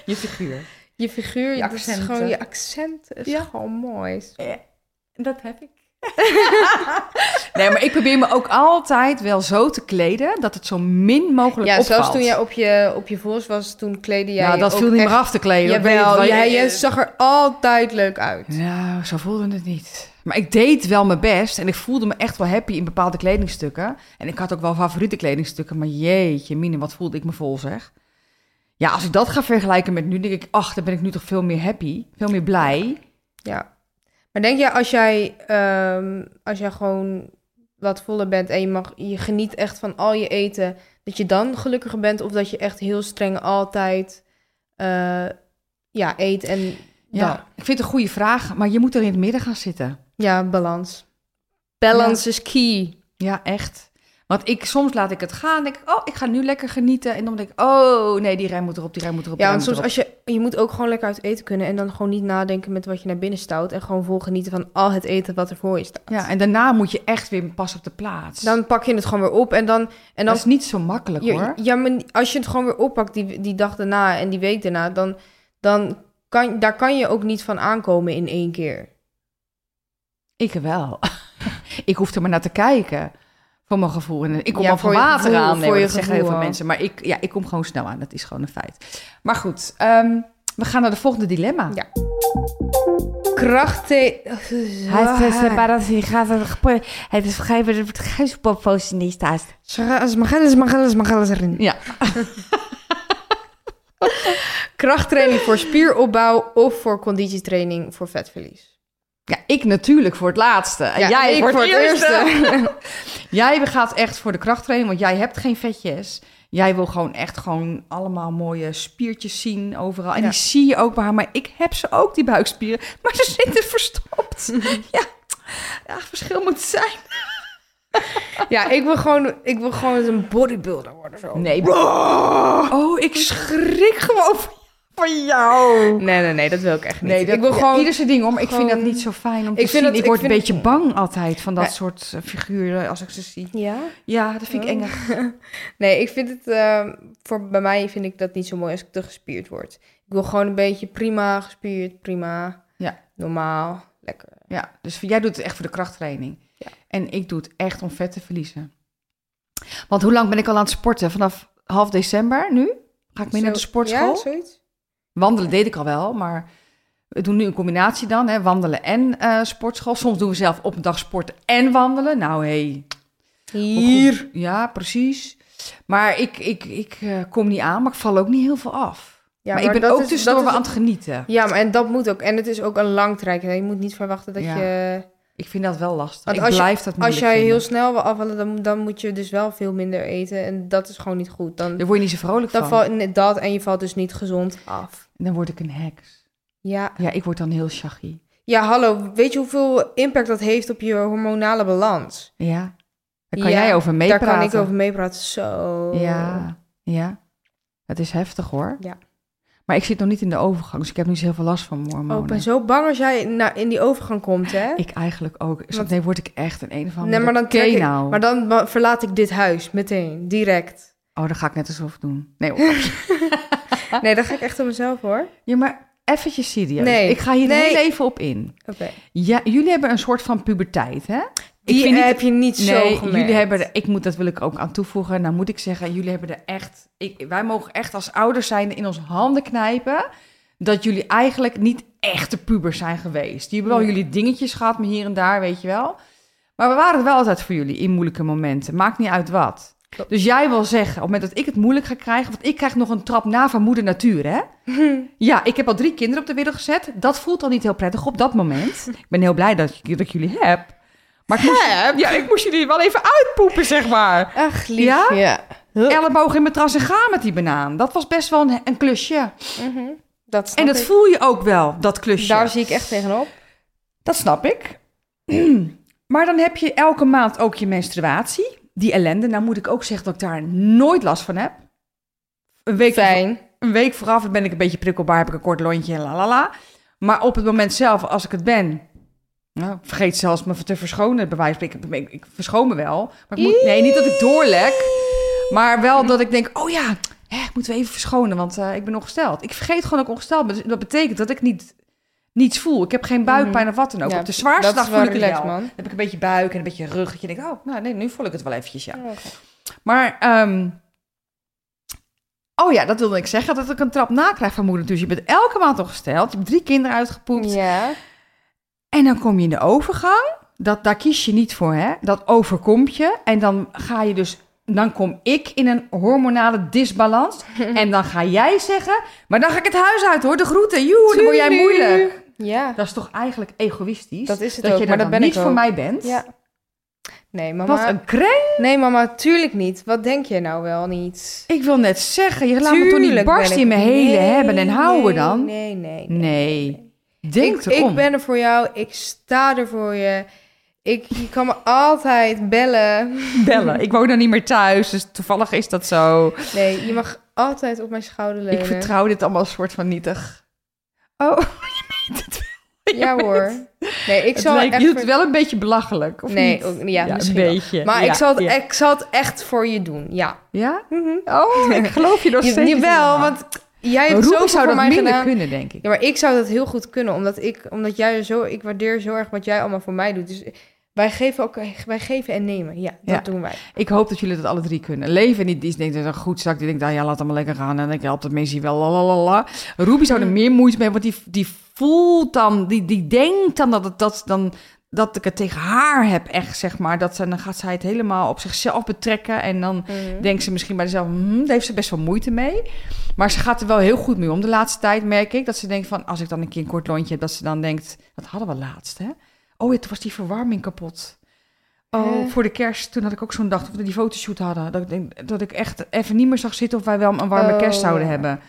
je figuur. Je figuur, Je dat is accenten. gewoon je accent. Is Ja. gewoon mooi. Dat heb ik. nee, maar ik probeer me ook altijd wel zo te kleden dat het zo min mogelijk Ja, opvalt. zelfs toen jij op je, op je vols was, toen kleedde jij. Ja, je dat ook viel niet echt- meer af te kleden. dat weet ik Jawel, wel. jij, jij zag er altijd leuk uit. Nou, zo voelde het niet. Maar ik deed wel mijn best en ik voelde me echt wel happy in bepaalde kledingstukken. En ik had ook wel favoriete kledingstukken, maar jeetje mine, wat voelde ik me vol zeg. Ja, als ik dat ga vergelijken met nu, denk ik, ach, dan ben ik nu toch veel meer happy, veel meer blij. Ja. Maar denk jij als jij, ehm, als jij gewoon wat voller bent en je, mag, je geniet echt van al je eten, dat je dan gelukkiger bent of dat je echt heel streng altijd eh, ja, eet en Ja, dan- ik vind het een goede vraag, maar je moet er in het midden gaan zitten. ja, balans. Balance is key. Ja, echt. Want ik, soms laat ik het gaan. Denk ik, oh, ik ga nu lekker genieten. En dan denk ik, oh, nee, die rij moet erop, die rij moet erop. die Ja, rij want moet soms erop. als je, je moet ook gewoon lekker uit eten kunnen en dan gewoon niet nadenken met wat je naar binnen stout en gewoon vol genieten van al het eten wat er voor je staat. Ja, en daarna moet je echt weer pas op de plaats. Dan pak je het gewoon weer op en dan, en dat dan is niet zo makkelijk, Ja, hoor. Ja, maar als je het gewoon weer oppakt die, die dag daarna en die week daarna, dan, dan kan, daar kan je ook niet van aankomen in één keer. Ik wel. ik hoef er maar naar te kijken. Voor mijn gevoel. En ik kom Ja, al van voor je water gevoel, aan. Nee, voor hoor, je dat zeggen heel gevoel veel al. mensen. Maar ik, ja, ik kom gewoon snel aan. Dat is gewoon een feit. Maar goed, ehm, we gaan naar de volgende dilemma. Ja. Krachten. eh, eh, Ah. gaat het Het is gegeven dat het gijzelpoppositie niet staat. Schraas, magelis, magelis, magelis erin. Ja. Krachttraining voor spieropbouw of voor conditietraining voor vetverlies? Ja, ik natuurlijk voor het laatste. En jij ik voor het eerste. Eh, eerste. Jij gaat echt voor de krachttraining, want jij hebt geen vetjes. Jij wil gewoon echt gewoon allemaal mooie spiertjes zien overal. En Ja. die zie je ook bij haar. Maar ik heb ze ook, die buikspieren. Maar ze zitten verstopt. ja. ja, het verschil moet zijn. ja, ik wil gewoon, ik wil gewoon een bodybuilder worden zo. Nee. Oh, ik schrik gewoon van- van jou. Nee, nee, nee, dat wil ik echt niet. Nee, dat, ik wil ja, gewoon... ieder zijn ding hoor. Maar ik vind dat Oh. gewoon- niet zo fijn om te Ik vind zien. dat- ik ik word vind- een beetje bang altijd van dat Nee. soort eh, figuren als ik ze zie. Ja? Ja, dat vind ik Oh. enger. Nee, ik vind het... eh, voor, bij mij vind ik dat niet zo mooi als ik te gespierd word. Ik wil gewoon een beetje prima gespierd, prima. Ja. Normaal, lekker. Ja, dus jij doet het echt voor de krachttraining. Ja. En ik doe het echt om vet te verliezen. Want hoe lang ben ik al aan het sporten? Vanaf half december nu? Ga ik mee naar de Zo- sportschool? Ja, zoiets. Wandelen deed ik al wel, maar we doen nu een combinatie dan. Hè? Wandelen en eh, sportschool. Soms doen we zelf op een dag sporten en wandelen. Nou, Hey, hoe goed- Ja, precies. Maar ik, ik, ik eh, kom niet aan, maar ik val ook niet heel veel af. Ja, maar, ik ben dat ook is- tussendoor dat wel is- aan het genieten. Ja, maar en dat moet ook. En het is ook een lang traject. hè. Je moet niet verwachten dat Ja. je... Ik vind dat wel lastig. Want ik als je- blijf dat Als moeilijk jij heel vinden. snel wil afvallen, dan, dan moet je dus wel veel minder eten. En dat is gewoon niet goed. Dan, Daar word je niet zo vrolijk dan van. val, nee, dat en je valt dus niet gezond af. Dan word ik een heks. Ja. Ja, ik word dan heel shaggy. ja, hallo. Weet je hoeveel impact dat heeft op je hormonale balans? Ja. Daar kan Ja, jij over meepraten. Daar kan ik over meepraten. Zo. Ja, ja. Het is heftig hoor. Ja. Maar ik zit nog niet in de overgang, dus ik heb nu heel veel last van mijn hormonen. Oh, ik ben zo bang als jij nou, in die overgang komt, hè? Ik eigenlijk ook. Dus Want- nee, word ik echt een een of andere nee, maar dan, trek ik, nou. maar dan ba- verlaat ik dit huis meteen, direct. Oh, dan ga ik net alsof doen. Nee, hoor. Nee, dat ga ik echt op mezelf, hoor. ja, maar eventjes serieus. Nee. Ik ga hier Nee. heel even op in. Oké. Ja, jullie hebben een soort van puberteit, hè? Die eh, vind niet- heb je niet zo Nee, gemerkt. jullie hebben er, ik moet, dat wil ik ook aan toevoegen. Nou moet ik zeggen, jullie hebben er echt, ik, wij mogen echt als ouders zijn in onze handen knijpen dat jullie eigenlijk niet echte pubers zijn geweest. Jullie hebben wel Ja. jullie dingetjes gehad, maar hier en daar, weet je wel. Maar we waren er wel altijd voor jullie in moeilijke momenten. Maakt niet uit wat. Klopt. Dus jij wil zeggen, op het moment dat ik het moeilijk ga krijgen, want ik krijg nog een trap na van moeder natuur, hè? Ja, ik heb al drie kinderen op de wereld gezet. Dat voelt al niet heel prettig op dat moment. ik ben heel blij dat, ik- dat ik jullie heb. Maar ik moest, ja, ik moest jullie wel even uitpoepen, zeg maar. Ach, lief. Ja? ja. Elleboog in mijn tras en gaan met die banaan. Dat was best wel een, een klusje. Mhm. Dat snap En dat ik. voel je ook wel, dat klusje. Daar zie ik echt tegenop. Dat snap ik. maar dan heb je elke maand ook je menstruatie. Die ellende. Nou moet ik ook zeggen dat ik daar nooit last van heb. Een week Fijn. een week vooraf ben ik een beetje prikkelbaar, heb ik een kort lontje en la la la. Maar op het moment zelf, als ik het ben, nou, ik vergeet zelfs me te verschonen, bij wijze van spreken. Ik, ik, ik verschoon me wel. Maar ik moet, nee, niet dat ik doorlek, maar wel dat ik denk, oh ja, hè, ik moet even verschonen, want eh, ik ben ongesteld. Ik vergeet gewoon dat ik ongesteld ben. Dus Dat betekent dat ik niet, niets voel. Ik heb geen buikpijn of wat dan ook. Mhm. Ja, op de zwaarste dat dag is wel voel ik het relaxed, wel. man. Dan heb ik een beetje buik en een beetje rug. Dat je denkt, oh, nou, nee, nu voel ik het wel eventjes, ja. Maar, ehm, oh ja, dat wilde ik zeggen. Dat ik een trap nakrijg van moeder. Dus je bent elke maand ongesteld. Je hebt drie kinderen uitgepoept. Ja. En dan kom je in de overgang. Dat, daar kies je niet voor, hè? Dat overkomt je. En dan ga je dus... Dan kom ik in een hormonale disbalans. en dan ga jij zeggen... Maar dan ga ik het huis uit, hoor. De groeten. Joe, dan word jij moeilijk. Ja. Dat is toch eigenlijk egoïstisch? Dat is het dat ook, je maar dat dan ben niet ik voor ook. mij bent. Ja. Nee, mama. Wat een kreng. Nee, mama, tuurlijk niet. Wat denk je nou wel niet? Ik wil net zeggen, je laat me toch niet Tuurlijk ben barsten ik- in mijn hele Nee, hebben en houden nee, dan? Nee, nee. Nee. Denk ik, erom. ik ben er voor jou. Ik sta er voor je. Ik, je kan me altijd bellen. bellen. Ik woon dan niet meer thuis, dus toevallig is dat zo. Nee, je mag altijd op mijn schouder leunen. Ik vertrouw dit allemaal een soort van nietig. Oh, Ja hoor. Nee, ik het zal lijkt- echt... je doet ver- het wel een beetje belachelijk, of Nee, niet? ook- ja, een misschien wel. beetje. Maar Ja, ik, zal het, ja. ik zal het echt voor je doen, ja. Ja? Oh, ik geloof je nog steeds. Je, niet wel, helemaal. want jij hebt Roepen zoveel zou voor dat mij minder gedaan. kunnen, denk ik. Ja, maar ik zou dat heel goed kunnen, omdat ik, omdat jij er zo, ik waardeer zo erg wat jij allemaal voor mij doet. Dus wij geven ook, wij geven en nemen. Ja, dat Ja. doen wij. Ik hoop dat jullie dat alle drie kunnen. Leven niet, die denkt dat is een goed zak. Die denkt, nou ja, laat allemaal lekker gaan. En ik help dat mensen hier wel, lalalala. Ruby zou er meer moeite mee hebben, want die, die voelt dan, die, die denkt dan dat het dat dan... dat ik het tegen haar heb echt, zeg maar. Dat ze, dan gaat zij het helemaal op zichzelf betrekken. En dan denkt ze misschien bij zichzelf, hm, daar heeft ze best wel moeite mee. Maar ze gaat er wel heel goed mee om. De laatste tijd merk ik dat ze denkt van, als ik dan een keer een kort lontje heb, dat ze dan denkt, dat hadden we laatst, hè? Oh, ja, toen was die verwarming kapot. Oh, Eh? voor de kerst, toen had ik ook zo'n dag dat we die fotoshoot hadden. Dat ik, denk, dat ik echt even niet meer zag zitten of wij wel een warme Oh, kerst zouden ja. hebben.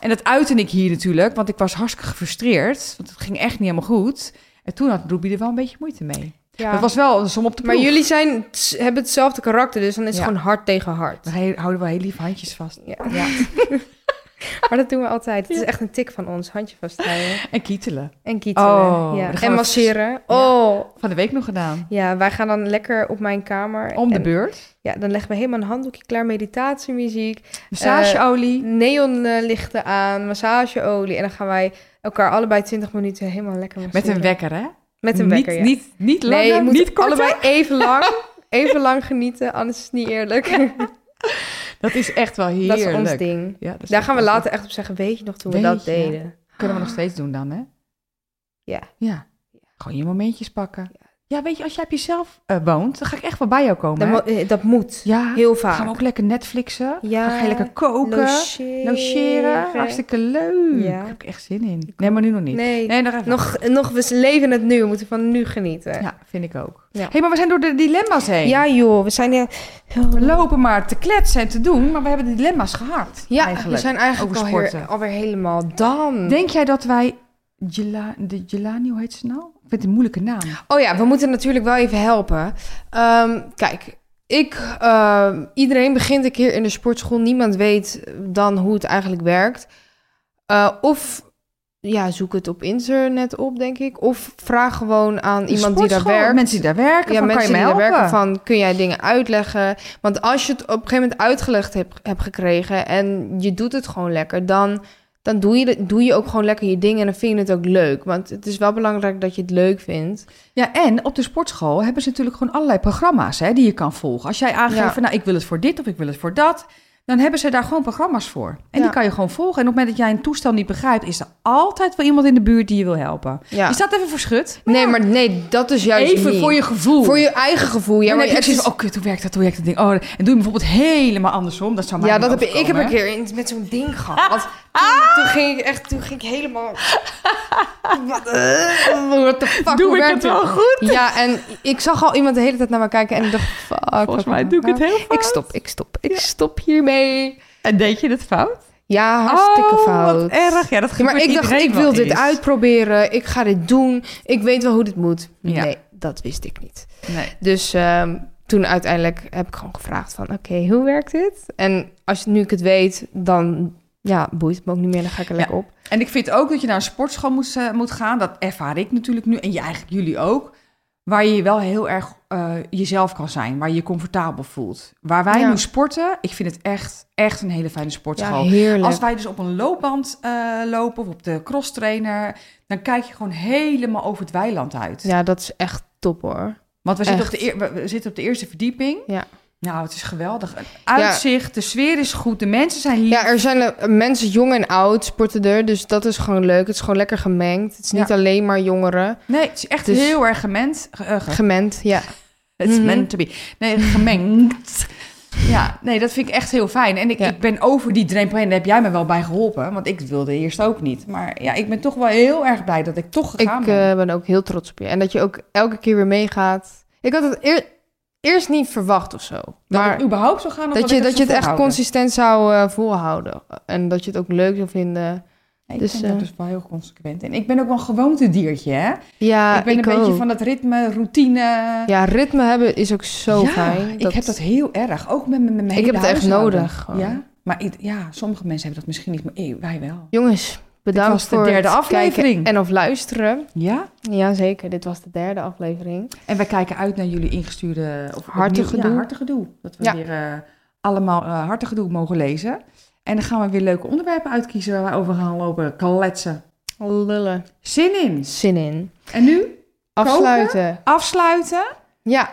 En dat uitte ik hier natuurlijk, want ik was hartstikke gefrustreerd. Want het ging echt niet helemaal goed. En toen had Ruby er wel een beetje moeite mee. Ja. Dat was wel een som op de Maar proef. jullie zijn, t- hebben hetzelfde karakter, dus dan is Ja. het gewoon hard tegen hard. We he- houden wel heel lief handjes vast. Ja. maar dat doen we altijd. Het is echt een tik van ons. Handje vasthouden En kietelen. en kietelen. Oh, dan ja. gaan En we- masseren. Ja. Oh, Van de week nog gedaan. ja, wij gaan dan lekker op mijn kamer. Om de En- beurt. Ja, dan leggen we helemaal een handdoekje klaar, meditatiemuziek, eh, Massageolie. neonlichten aan, massageolie. En dan gaan wij elkaar allebei 20 minuten helemaal lekker met masseren. een wekker, hè? Met een wekker, niet, ja. niet, niet langer, nee, je moet niet korter. allebei even lang, even lang genieten, anders is het niet eerlijk. Dat is echt wel dat heerlijk. is ons ding. Ja, dat is Daar echt gaan we wel- later echt op zeggen, weet je nog toen we Weet dat je, ja. deden? Kunnen we nog steeds doen dan, hè? Ja. Ja. Gewoon je momentjes pakken. Ja, weet je, als jij op jezelf eh, woont, dan ga ik echt wel bij jou komen. Dat, hè? mo- eh, dat moet. ja. Heel Gaan vaak. we ook lekker Netflixen. Ja. Dan ga je lekker koken. Logeren. Logeren. Hartstikke leuk. Ja. Daar heb ik echt zin in. Nee, maar nu nog niet. Nee. nog even. Nog, nog, we leven het nu. We moeten van nu genieten. Ja, Ja, vind ik ook. Ja. hey, maar we zijn door de dilemma's heen. joh. We zijn... Ja, We lopen maar te kletsen en te doen, maar we hebben de dilemma's gehad. ja eigenlijk. we zijn eigenlijk Over alweer, sporten. alweer helemaal dan. Denk jij dat wij... Gela, de Gelani, hoe heet ze nou? Ik vind het een moeilijke naam. Oh ja, we moeten natuurlijk wel even helpen. Ehm, kijk, ik, ehm, iedereen begint een keer in de sportschool. Niemand weet dan hoe het eigenlijk werkt. Eh, of ja, zoek het op internet op, denk ik. Of vraag gewoon aan iemand die daar Sportschool, werkt. Mensen die daar werken, ja, van, mensen kan die je mij daar helpen? werken van, kun jij dingen uitleggen? Want als je het op een gegeven moment uitgelegd hebt hebt gekregen en je doet het gewoon lekker, dan, dan doe, je, de- doe je ook gewoon lekker je ding en dan vind je het ook leuk. Want het is wel belangrijk dat je het leuk vindt. Ja, en op de sportschool hebben ze natuurlijk gewoon allerlei programma's hè, die je kan volgen. Als jij aangeeft, Ja. van, nou, ik wil het voor dit of ik wil het voor dat, dan hebben ze daar gewoon programma's voor. En die Ja. kan je gewoon volgen. En op het moment dat jij een toestel niet begrijpt, is er altijd wel iemand in de buurt die je wil helpen. Ja. Je staat even voor schut. Nee, maar nee, dat is juist Even niet. voor je gevoel. Voor je eigen gevoel. Ja, Ja, maar maar het precies, is, oh kut, hoe werkt dat, hoe werkt dat ding? Oh, en doe je bijvoorbeeld helemaal andersom. Dat zou mij ja, niet dat heb ik. Ik heb overkomen, een hè. Ah! keer in- met zo'n ding gehad. Toen, toen ging ik echt, toen ging ik helemaal. Wat eh, what the fuck? Doe hoe ik werkt het dit? wel goed? Ja, en ik zag al iemand de hele tijd naar me kijken en ik dacht, fuck. Volgens wat mij nou? doe ik het heel fout. Ik stop, ik stop, ik stop hiermee. En deed je dat fout? Ja, hartstikke Oh, fout. wat erg. Ja, dat Ja, maar gebeurt ik dacht, iedereen ik wil wel dit eens. uitproberen. Ik ga dit doen. Ik weet wel hoe dit moet. Ja. Nee, dat wist ik niet. Nee. Dus ehm, toen uiteindelijk heb ik gewoon gevraagd van... oké, hoe werkt dit? En als nu ik het weet, dan ja, boeit het me ook niet meer. Dan ga ik er lekker op. En ik vind ook dat je naar een sportschool moet, eh, moet gaan. Dat ervaar ik natuurlijk nu. En je, eigenlijk jullie ook. Waar je wel heel erg eh, jezelf kan zijn. Waar je je comfortabel voelt. Waar wij Ja. nu sporten. Ik vind het echt, echt een hele fijne Ja, sportschool. heerlijk. Als wij dus op een loopband eh, lopen of op de crosstrainer. Dan kijk je gewoon helemaal over het weiland uit. Ja, dat is echt top hoor. Want we zitten, op Echt. de eer- we- we zitten op de eerste verdieping. Ja. Nou, het is geweldig. Uitzicht, de sfeer is goed, de mensen zijn lief. Ja, er zijn eh, mensen jong en oud sporten er. Dus dat is gewoon leuk. Het is gewoon lekker gemengd. Het is niet Ja. alleen maar jongeren. Nee, het is echt Dus- heel erg gemengd. ge- eh, ge- Gemengd, ja. It's Mhm. meant to be. Nee, gemengd. Ja, nee, dat vind ik echt heel fijn. En ik, Ja. ik ben over die drempel heen. Daar heb jij me wel bij geholpen. Want ik wilde eerst ook niet. Maar ja, ik ben toch wel heel erg blij dat ik toch Ik gegaan ben. eh, ben ook heel trots op je. En dat je ook elke keer weer meegaat. Ik had het eer- eerst niet verwacht of zo. dat maar ik überhaupt zou gaan. of dat ik je, dat zou je het echt volhouden. consistent zou eh, volhouden. En dat je het ook leuk zou vinden. Nee, ik dus, vind dat eh, dus wel heel consequent. En ik ben ook wel een gewoontediertje, hè? Ja, ik ben een beetje van dat ritme, routine. Ja, ritme hebben is ook zo Ja, fijn. ik heb dat heel erg. Ook met mijn, met mijn Ik heb hele het echt huishouden. nodig, gewoon. Ja, maar ik- ja, sommige mensen hebben dat misschien niet. Maar eh, wij wel. Jongens, bedankt was de voor derde het aflevering. kijken en of luisteren. Ja? Jazeker, dit was de derde aflevering. En wij kijken uit naar jullie ingestuurde... Of Hartig opnieuw- Ja, gedoe. hartig gedoe. Dat we Ja. weer eh, allemaal eh hartig gedoe mogen lezen. En dan gaan we weer leuke onderwerpen uitkiezen... waar we over gaan lopen kletsen. Lullen. Zin in. Zin in. En nu Afsluiten. afsluiten. Ja,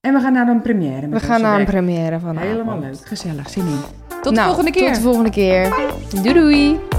En we gaan naar een première. we gaan naar een première van Helemaal leuk. Gezellig. Zin in. Tot de Nou, volgende keer. Tot de volgende keer. Doei doei.